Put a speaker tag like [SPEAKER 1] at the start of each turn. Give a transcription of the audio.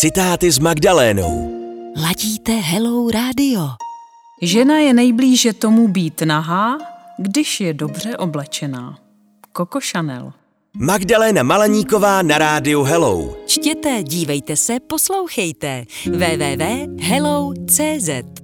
[SPEAKER 1] Citáty s Magdalénou.
[SPEAKER 2] Ladíte Hello Radio.
[SPEAKER 3] Žena je nejblíže tomu být nahá, když je dobře oblečená. Coco Chanel.
[SPEAKER 1] Magdaléna Malaníková na rádiu Hello.
[SPEAKER 2] Čtěte, dívejte se, poslouchejte. www.hello.cz